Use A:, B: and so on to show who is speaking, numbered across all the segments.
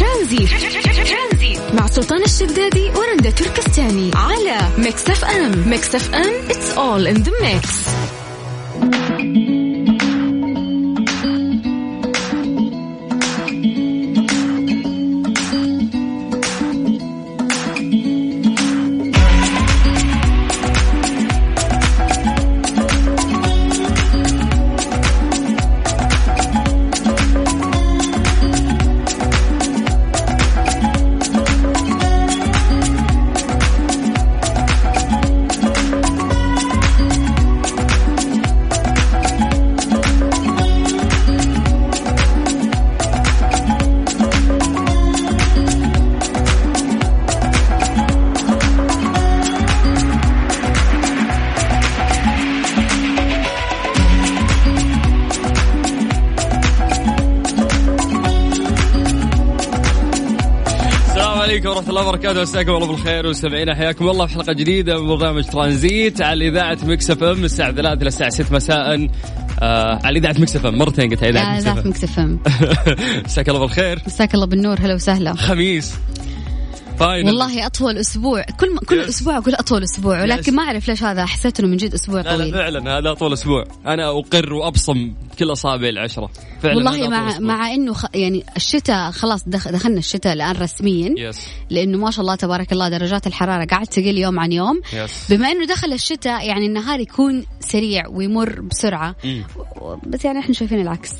A: ترانزيت. ترانزيت مع سلطان الشدادي ورندا تركستاني على ميكس اف ام ميكس اف ام it's all in the mix
B: السلام عليكم ورحمة الله وبركاته مساكم الله بالخير وسمعينا حياكم الله في حلقة جديدة من برنامج ترانزيت على إذاعة مكس اف ام الساعة 3 إلى الساعة 6 مساء آه على إذاعة مكس اف ام مرتين قلتها إذاعة مكس اف ام
C: مكس اف ام
B: مساك الله بالخير
C: مساك الله بالنور هلا وسهلا
B: خميس فاينل
C: والله اطول اسبوع كل ما كل
B: Yes.
C: اسبوع اقول اطول اسبوع ولكن ما اعرف ليش هذا حسيت انه من جد اسبوع
B: لا لا
C: طويل
B: فعلا هذا طول اسبوع انا اقر وابصم كل اصابعي العشره فعلا
C: والله
B: هذا طول
C: مع
B: أسبوع.
C: مع انه خ... يعني الشتاء خلاص دخ... دخلنا الشتاء الان رسميا
B: يس
C: لانه ما شاء الله تبارك الله درجات الحراره قاعد تقل يوم عن يوم
B: يس
C: بما انه دخل الشتاء يعني النهار يكون سريع ويمر بسرعه
B: مم.
C: و- بس يعني احنا شايفين العكس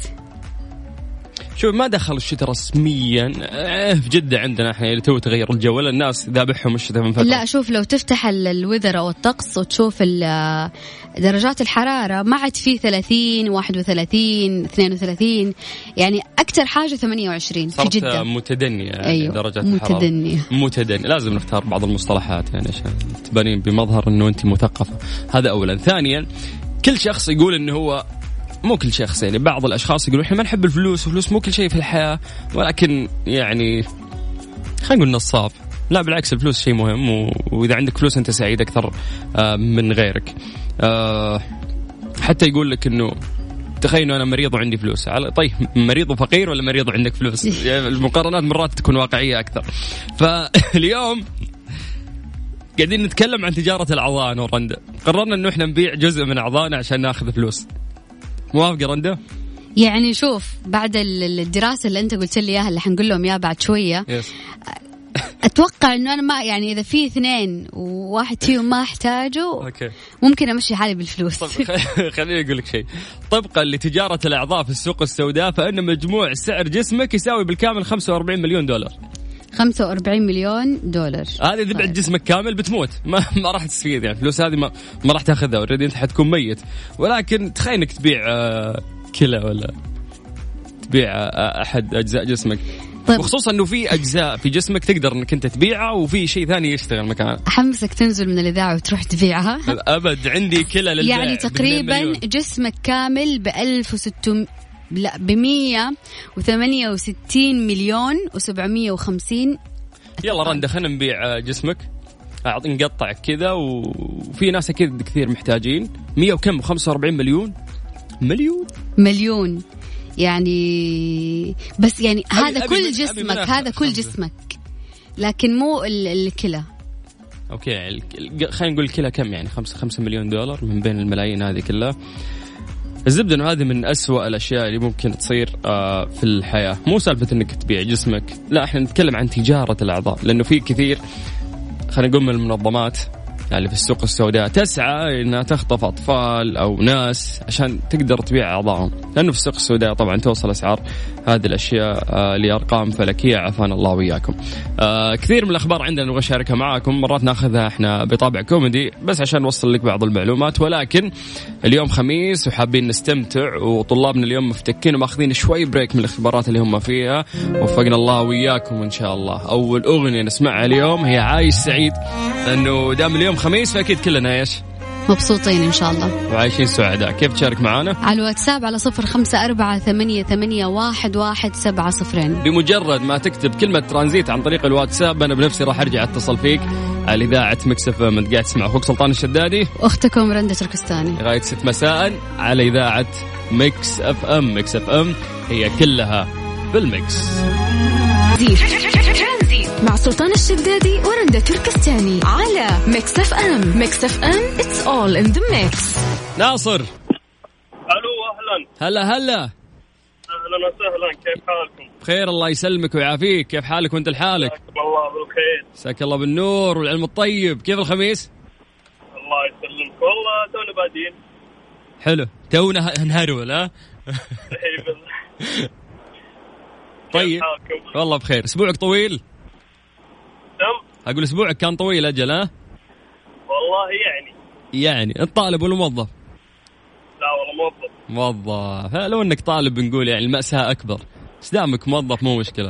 B: شوف ما دخل الشتاء رسميا آه، في جده عندنا احنا اللي تو تغير الجو ولا الناس ذابحهم الشتاء من فتره
C: لا شوف لو تفتح ال- الوذر او الطقس وتشوف ال- درجات الحراره ما عاد في 30 31 32 يعني اكثر حاجه 28 في
B: صارت
C: جده
B: متدنية يعني
C: أيوة،
B: درجة
C: متدنية.
B: متدنية لازم نختار بعض المصطلحات يعني عشان تبانين بمظهر انه انت مثقفة هذا اولا ثانيا كل شخص يقول انه هو مو كل شخص يعني بعض الاشخاص يقولوا احنا ما نحب الفلوس الفلوس مو كل شيء في الحياة ولكن يعني خلينا نقول نصاب لا بالعكس الفلوس شيء مهم و... واذا عندك فلوس انت سعيد اكثر آه، من غيرك آه، حتى يقول لك انه تخيل انه انا مريض وعندي فلوس على طيب مريض وفقير ولا مريض وعندك فلوس يعني المقارنات مرات تكون واقعيه اكثر فاليوم قاعدين نتكلم عن تجاره الاعضاء انا ورندا قررنا انه احنا نبيع جزء من اعضائنا عشان ناخذ فلوس موافقه رندا
C: يعني شوف بعد ال- الدراسه اللي انت قلت لي اياها اللي حنقول لهم اياها بعد شويه
B: يس
C: اتوقع انه انا ما يعني اذا في اثنين وواحد فيهم ما احتاجه
B: اوكي
C: ممكن امشي حالي بالفلوس
B: طب خ- خليني اقول لك شيء طبقا لتجاره الاعضاء في السوق السوداء فان مجموع سعر جسمك يساوي بالكامل 45 مليون دولار
C: 45 مليون دولار
B: هذه اذا بعت
C: طيب.
B: جسمك كامل بتموت ما, ما راح تستفيد يعني الفلوس هذه ما, ما راح تاخذها اوريدي انت حتكون ميت ولكن تخيل انك تبيع آه، كلى ولا تبيع آه، احد اجزاء جسمك
C: طيب.
B: وخصوصا انه في اجزاء في جسمك تقدر انك انت تبيعها وفي شيء ثاني يشتغل مكانها
C: احمسك تنزل من الاذاعه وتروح تبيعها
B: ابد عندي كلى للبيع
C: يعني تقريبا
B: ب2
C: جسمك كامل ب 1600 لا ب 168 مليون و750
B: يلا رندا خلينا نبيع آه، جسمك أعط- نقطع كذا و- وفي ناس اكيد كثير محتاجين 100 وكم 45 مليون مليون
C: مليون يعني بس يعني هذا
B: أبي
C: كل
B: من- أبي
C: جسمك
B: منها
C: هذا كل
B: خمسة.
C: جسمك لكن مو ال- الكلى
B: اوكي الك- الك- خلينا نقول كلها كم يعني 5 5 مليون دولار من بين الملايين هذه كلها الزبده انه هذه من أسوأ الاشياء اللي ممكن تصير آه، في الحياه مو سالفه انك تبيع جسمك لا احنا نتكلم عن تجاره الاعضاء لانه في كثير خلينا نقول من المنظمات اللي في السوق السوداء تسعى انها تخطف اطفال او ناس عشان تقدر تبيع اعضائهم، لانه في السوق السوداء طبعا توصل اسعار هذه الاشياء آه، لارقام فلكيه عافانا الله واياكم. آه، كثير من الاخبار عندنا نبغى نشاركها معاكم، مرات ناخذها احنا بطابع كوميدي بس عشان نوصل لك بعض المعلومات ولكن اليوم خميس وحابين نستمتع وطلابنا اليوم مفتكين وماخذين شوي بريك من الاختبارات اللي هم فيها، وفقنا الله واياكم ان شاء الله. اول اغنيه نسمعها اليوم هي عايش سعيد لانه دام اليوم خميس فاكيد كلنا ايش؟
C: مبسوطين ان شاء الله
B: وعايشين سعداء، كيف تشارك معانا؟
C: على الواتساب على صفر خمسة أربعة ثمانية ثمانية واحد واحد سبعة صفرين
B: بمجرد ما تكتب كلمة ترانزيت عن طريق الواتساب أنا بنفسي راح أرجع أتصل فيك على إذاعة مكسف أنت قاعد تسمع أخوك سلطان الشدادي
C: أختكم رندة تركستاني
B: لغاية 6 مساء على إذاعة ميكس اف ام ميكس اف ام هي كلها بالميكس
A: ترانزيت مع سلطان الشدادي ورندا تركستاني على ميكس اف ام ميكس اف ام اتس اول ان ذا ميكس
B: ناصر
D: الو اهلا
B: هلا هلا
D: اهلا وسهلا كيف حالكم؟
B: بخير الله يسلمك ويعافيك كيف حالك وانت لحالك
D: حياكم الله بالخير
B: مساك الله بالنور والعلم الطيب كيف الخميس
D: الله يسلمك والله تونا بادين
B: حلو تونا ه- نهرول ها
D: إي بالله.
B: طيب
D: كيف حالكم؟
B: والله بخير اسبوعك طويل
D: تم
B: اقول اسبوعك كان طويل اجل ها
D: والله يعني
B: يعني الطالب والموظف
D: لا والله موظف
B: موظف ها، لو انك طالب بنقول يعني المأساة اكبر بس دامك موظف مو مشكلة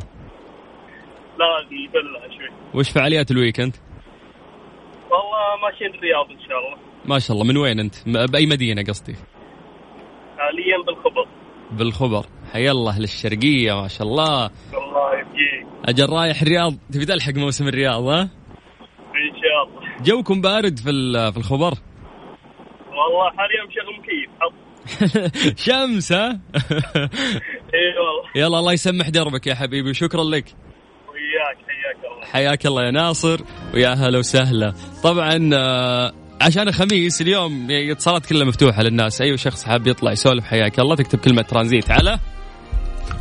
D: لازم ندلع شوي
B: وش فعاليات الويكند
D: والله ماشيين الرياض ان شاء الله
B: ما شاء الله من وين انت م- باي مدينة قصدي
D: حاليا بالخبر
B: بالخبر حيا الله للشرقية ما شاء الله
D: الله يبقيك
B: اجل رايح الرياض تبي تلحق موسم الرياض ها
D: ان شاء الله
B: جوكم بارد في ال- في الخبر
D: والله حاليا مشغل مكيف حط
B: شمس ها
D: اي إيه، والله
B: يلا الله يسمح دربك يا حبيبي وشكرا لك
D: وياك حياك الله
B: حياك الله يا ناصر ويا هلا وسهلا طبعا آه، عشان الخميس اليوم اتصالات كلها مفتوحه للناس اي شخص حاب يطلع يسولف حياك الله تكتب كلمه ترانزيت على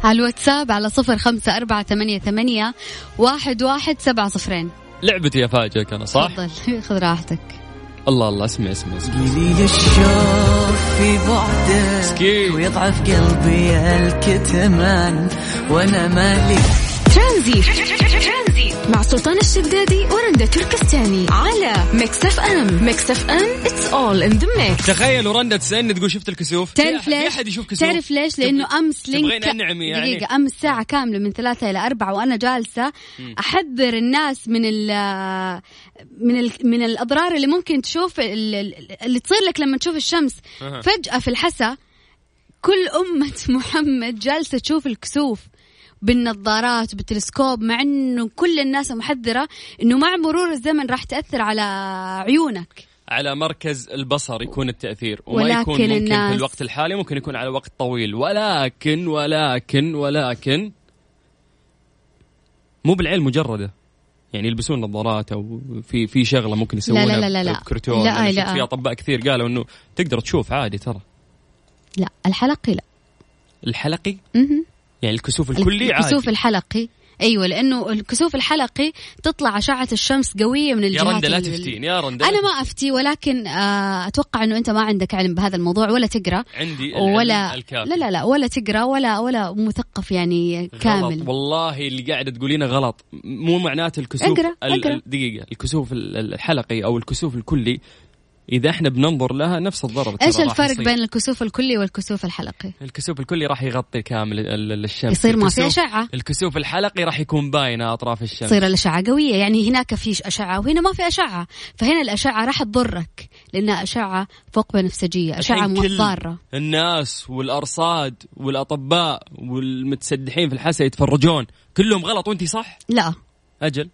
C: على الواتساب على صفر خمسة أربعة ثمانية ثمانية واحد واحد سبعة صفرين
B: لعبتي افاجئك انا صح
C: تفضل خذ راحتك
B: الله الله اسمع اسمع اسمع
E: قليل الشوق في بعدك
B: مسكين
E: ويضعف قلبي الكتمان وانا مالي
A: ترانزيت مع سلطان الشدادي ورندا تركستاني على ميكس اف ام ميكس اف ام اتس اول ان ذا ميكس
B: تخيل ورندا تسالني تقول شفت الكسوف
C: تعرف
B: في أح- في
C: ليش؟
B: احد يشوف كسوف
C: تعرف ليش؟ لأنه أمس لينك
B: تبغين أنعمي يعني؟
C: دقيقة أمس ساعة كاملة من ثلاثة إلى أربعة وأنا جالسة أحذر الناس من ال من ال من الأضرار اللي ممكن تشوف ال- ال- اللي تصير لك لما تشوف الشمس
B: أها.
C: فجأة في الحسا كل أمة محمد جالسة تشوف الكسوف بالنظارات بالتلسكوب مع انه كل الناس محذره انه مع مرور الزمن راح تاثر على عيونك
B: على مركز البصر يكون التأثير وما
C: ولكن
B: يكون ممكن
C: الناس-
B: في الوقت الحالي ممكن يكون على وقت طويل ولكن ولكن ولكن مو بالعين مجردة يعني يلبسون نظارات او في في شغله ممكن يسوونها
C: لا- لا- لا.
B: بكرتون
C: لا-
B: أنا
C: لا.
B: شفت في اطباء كثير قالوا انه تقدر تشوف عادي ترى
C: لا الحلقي لا
B: الحلقي
C: مهم.
B: يعني الكسوف الكلي عادي
C: الكسوف الحلقي ايوه لانه الكسوف الحلقي تطلع اشعه الشمس قويه من
B: يا
C: الجهات
B: رندا لا
C: ال-
B: تفتين يا رندا
C: انا ما افتي ولكن آه، اتوقع انه انت ما عندك علم بهذا الموضوع ولا تقرا
B: عندي العلم
C: ولا
B: الكافي.
C: لا لا لا ولا تقرا ولا ولا مثقف يعني
B: غلط
C: كامل
B: والله اللي قاعده تقولينه غلط مو معناته الكسوف
C: اقرأ،
B: ال-
C: اقرأ.
B: ال- دقيقه الكسوف ال- ال- الحلقي او الكسوف الكلي اذا احنا بننظر لها نفس الضرر ترى
C: ايش
B: راح
C: الفرق
B: يصير.
C: بين الكسوف الكلي والكسوف الحلقي
B: الكسوف الكلي راح يغطي كامل ال- ال- الشمس
C: يصير ما في
B: الكسوف-
C: اشعه
B: الكسوف الحلقي راح يكون باينه اطراف الشمس
C: تصير الاشعه قويه يعني هناك في اشعه وهنا ما في اشعه فهنا الاشعه راح تضرك لانها اشعه فوق بنفسجيه اشعه
B: الحين كل
C: مضاره
B: الناس والارصاد والاطباء والمتسدحين في الحسا يتفرجون كلهم غلط وانت صح
C: لا
B: اجل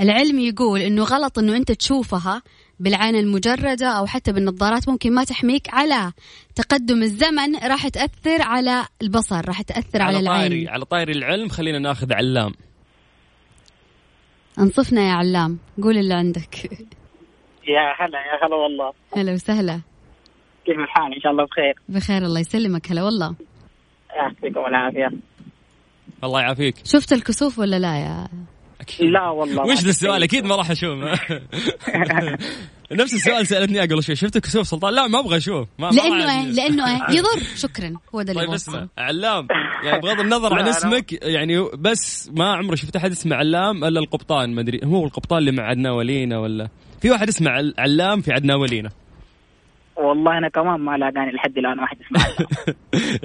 C: العلم يقول انه غلط انه انت تشوفها بالعين المجردة او حتى بالنظارات ممكن ما تحميك على تقدم الزمن راح تأثر على البصر راح تأثر على,
B: على يعني. طاري
C: العين
B: على طاري العلم خلينا ناخذ علام
C: انصفنا يا علام قول اللي عندك
F: يا هلا يا هلا والله
C: هلا وسهلا
F: كيف الحال ان شاء الله بخير
C: بخير الله يسلمك هلا والله
F: يعطيكم العافيه
B: الله يعافيك
C: شفت الكسوف ولا لا يا
B: أكيد.
F: لا والله
B: وش ذا السؤال اكيد ما راح اشوف نفس السؤال سالتني قبل شوي شفت كسوف سلطان لا ما ابغى اشوف آه، ما ما
C: لانه
B: راح
C: إيه؟ لانه إيه؟ يضر شكرا هو ده اللي
B: طيب
C: بوصله
B: اسمع علام يعني بغض النظر عن
F: لا، لا.
B: اسمك يعني بس ما عمري شفت احد اسمه علام الا القبطان ما ادري هو القبطان اللي مع عدنا ولينا ولا في واحد اسمه عل- علام في عدنا ولينا
F: والله انا كمان ما لاقاني لحد الان واحد يسمع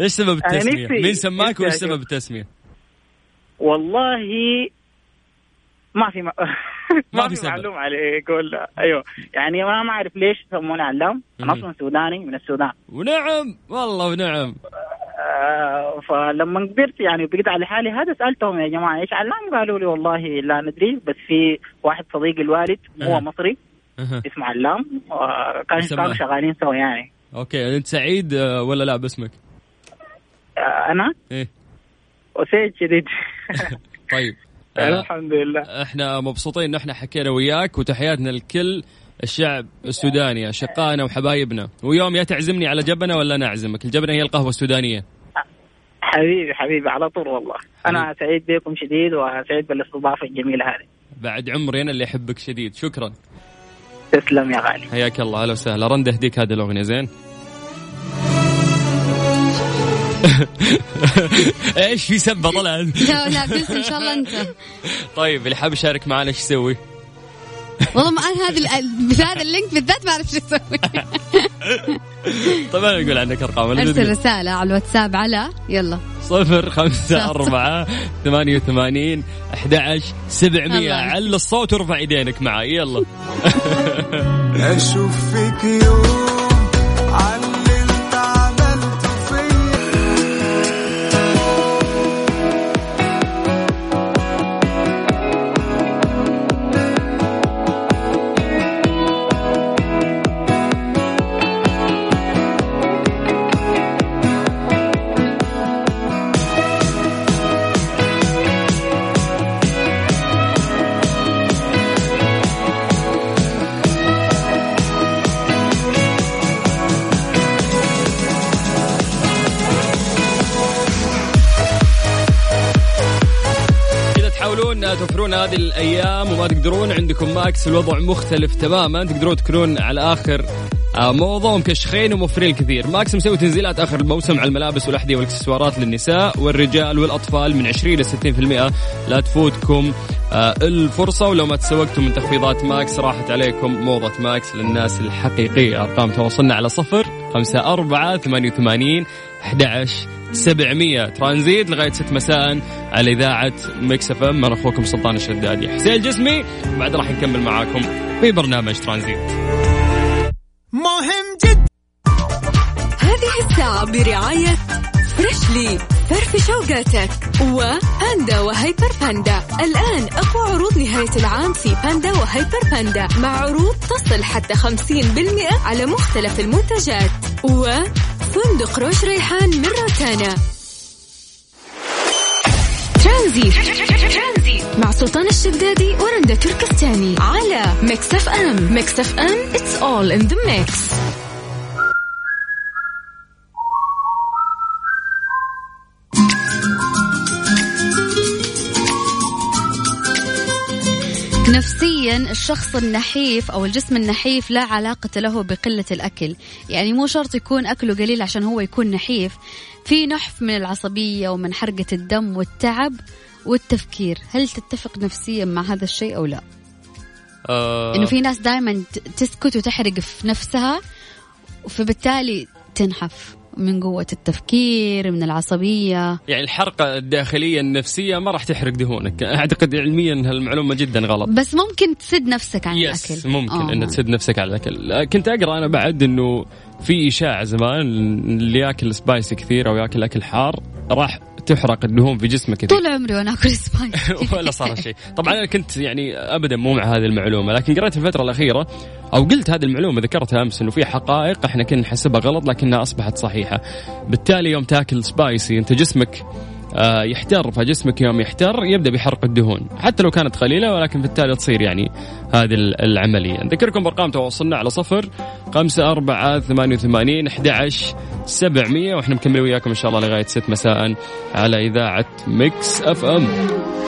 B: ايش سبب
F: أنا
B: التسميه؟
F: نفسي-
B: مين سماك
F: نفسي
B: وايش
F: أشوف.
B: سبب التسميه؟
F: والله ما في ما,
B: ما
F: ما
B: في سبب.
F: في معلومه عليك ولا ايوه يعني ما ما اعرف ليش يسموني علام انا
B: مم.
F: اصلا سوداني من السودان
B: ونعم والله ونعم
F: آه فلما كبرت يعني وبقيت على حالي هذا سالتهم يا جماعه ايش علام قالوا لي والله لا ندري بس في واحد صديق الوالد
B: أها.
F: هو مصري
B: أها.
F: اسمه علام آه كان
B: يسمع.
F: كانوا شغالين سوا يعني
B: اوكي انت سعيد آه، ولا لا باسمك؟
F: آه انا
B: ايه
F: أسيد شديد
B: طيب أنا-
D: الحمد لله
B: احنا مبسوطين ان احنا حكينا وياك وتحياتنا لكل الشعب السوداني اشقائنا وحبايبنا ويوم يا تعزمني على جبنه ولا انا اعزمك الجبنه هي القهوه السودانيه
F: حبيبي حبيبي على طول والله انا سعيد بكم شديد وسعيد بالاستضافه الجميله هذه
B: بعد عمري انا اللي احبك شديد شكرا
F: تسلم يا غالي
B: حياك الله اهلا وسهلا رند اهديك هذه الاغنيه زين ايش في سبه طلعت
C: لا لا بس ان شاء الله انت
B: طيب اللي حاب يشارك معنا ايش يسوي
C: والله ما انا هذا ال- بس هذا اللينك بالذات ما اعرف شو اسوي
B: طبعا اقول عنك ارقام ولا
C: ارسل
B: تدري؟
C: رساله على الواتساب على يلا
B: صفر خمسة أربعة ثمانية وثمانين أحد عشر سبعمية
C: الله.
B: عل الصوت وارفع إيدينك معي يلا
E: اشوف فيك يوم على اللي انت عملته فيا
B: إذا تحاولون توفرون هذه الأيام وما تقدرون عندكم ماكس الوضع مختلف تماما تقدرون تكونون على آخر آه، موضوع مكشخين وموفرين الكثير ماكس مسوي تنزيلات آخر الموسم على الملابس والأحذية والإكسسوارات للنساء والرجال والأطفال من 20 إلى 60% لا تفوتكم آه، الفرصة ولو ما تسوقتم من تخفيضات ماكس راحت عليكم موضة ماكس للناس الحقيقية أرقام تواصلنا على صفر خمسة أربعة ثمانية وثمانين أحد عشر 700 ترانزيت لغايه 6 مساء على اذاعه مكس اف ام انا اخوكم سلطان الشدادي حسين الجسمي بعد راح نكمل معاكم في برنامج ترانزيت
E: مهم جدا
A: هذه الساعة برعاية فريشلي فرف شوقاتك وباندا وهيبر باندا الآن أقوى عروض نهاية العام في باندا وهيبر باندا مع عروض تصل حتى 50% على مختلف المنتجات وفندق روش ريحان من روتانا ترانزيت مع سلطان الشدادي ورندا تركستاني على ميكس اف ام ميكس اف ام it's all in the mix
C: نفسيا الشخص النحيف او الجسم النحيف لا علاقه له بقله الاكل يعني مو شرط يكون اكله قليل عشان هو يكون نحيف في نحف من العصبيه ومن حرقه الدم والتعب والتفكير هل تتفق نفسيا مع هذا الشيء او لا
B: آه
C: انه في ناس دائما تسكت وتحرق في نفسها فبالتالي تنحف من قوه التفكير من العصبيه
B: يعني الحرقه الداخليه النفسيه ما راح تحرق دهونك اعتقد علميا هالمعلومه جدا غلط
C: بس ممكن تسد نفسك عن
B: يس
C: الاكل
B: ممكن
C: آه.
B: ان تسد نفسك على الاكل آه، كنت اقرا انا بعد انه في اشاعه زمان اللي ياكل سبايسي كثير او ياكل اكل حار راح تحرق الدهون في جسمه كثير
C: طول عمري وانا اكل سبايسي
B: ولا صار شيء طبعا انا كنت يعني ابدا مو مع هذه المعلومه لكن قريت الفتره الاخيره او قلت هذه المعلومه ذكرتها امس انه في حقائق احنا كنا نحسبها غلط لكنها اصبحت صحيحه بالتالي يوم تاكل سبايسي انت جسمك آه، يحتر فجسمك يوم يحتر يبدا بحرق الدهون حتى لو كانت قليله ولكن بالتالي تصير يعني هذه ال- العمليه نذكركم بارقام تواصلنا على صفر خمسة أربعة ثمانية وثمانين أحد عشر سبعمية وإحنا مكملين وياكم إن شاء الله لغاية ست مساء على إذاعة ميكس أف أم